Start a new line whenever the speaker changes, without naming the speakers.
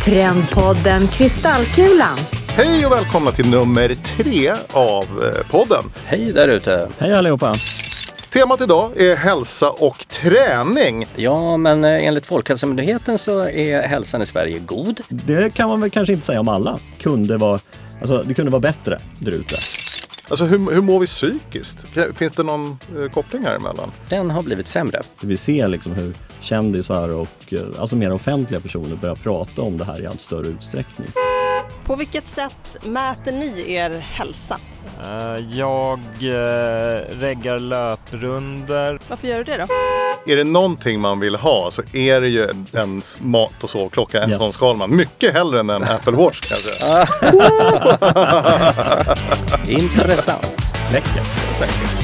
Trendpodden Kristallkulan.
Hej och välkomna till nummer tre av eh, podden.
Hej där ute!
Hej allihopa!
Temat idag är hälsa och träning.
Ja, men eh, enligt Folkhälsomyndigheten så är hälsan i Sverige god.
Det kan man väl kanske inte säga om alla. Kunde vara, alltså, det kunde vara bättre där ute.
Alltså hur, hur mår vi psykiskt? Kan- Finns det någon eh, koppling här emellan?
Den har blivit sämre.
Vi ser liksom hur kändisar och eh, alltså mer offentliga personer börjar prata om det här i allt större utsträckning.
På vilket sätt mäter ni er hälsa?
Eh, Jag eh, reggar löprunder.
Varför gör du det då?
Är det någonting man vill ha så är det ju en, en mat och sovklocka, en
Yes.
sån skal man. Mycket hellre än en Apple Watch kan jag säga.
Intressant.
Läckert!
Säkert.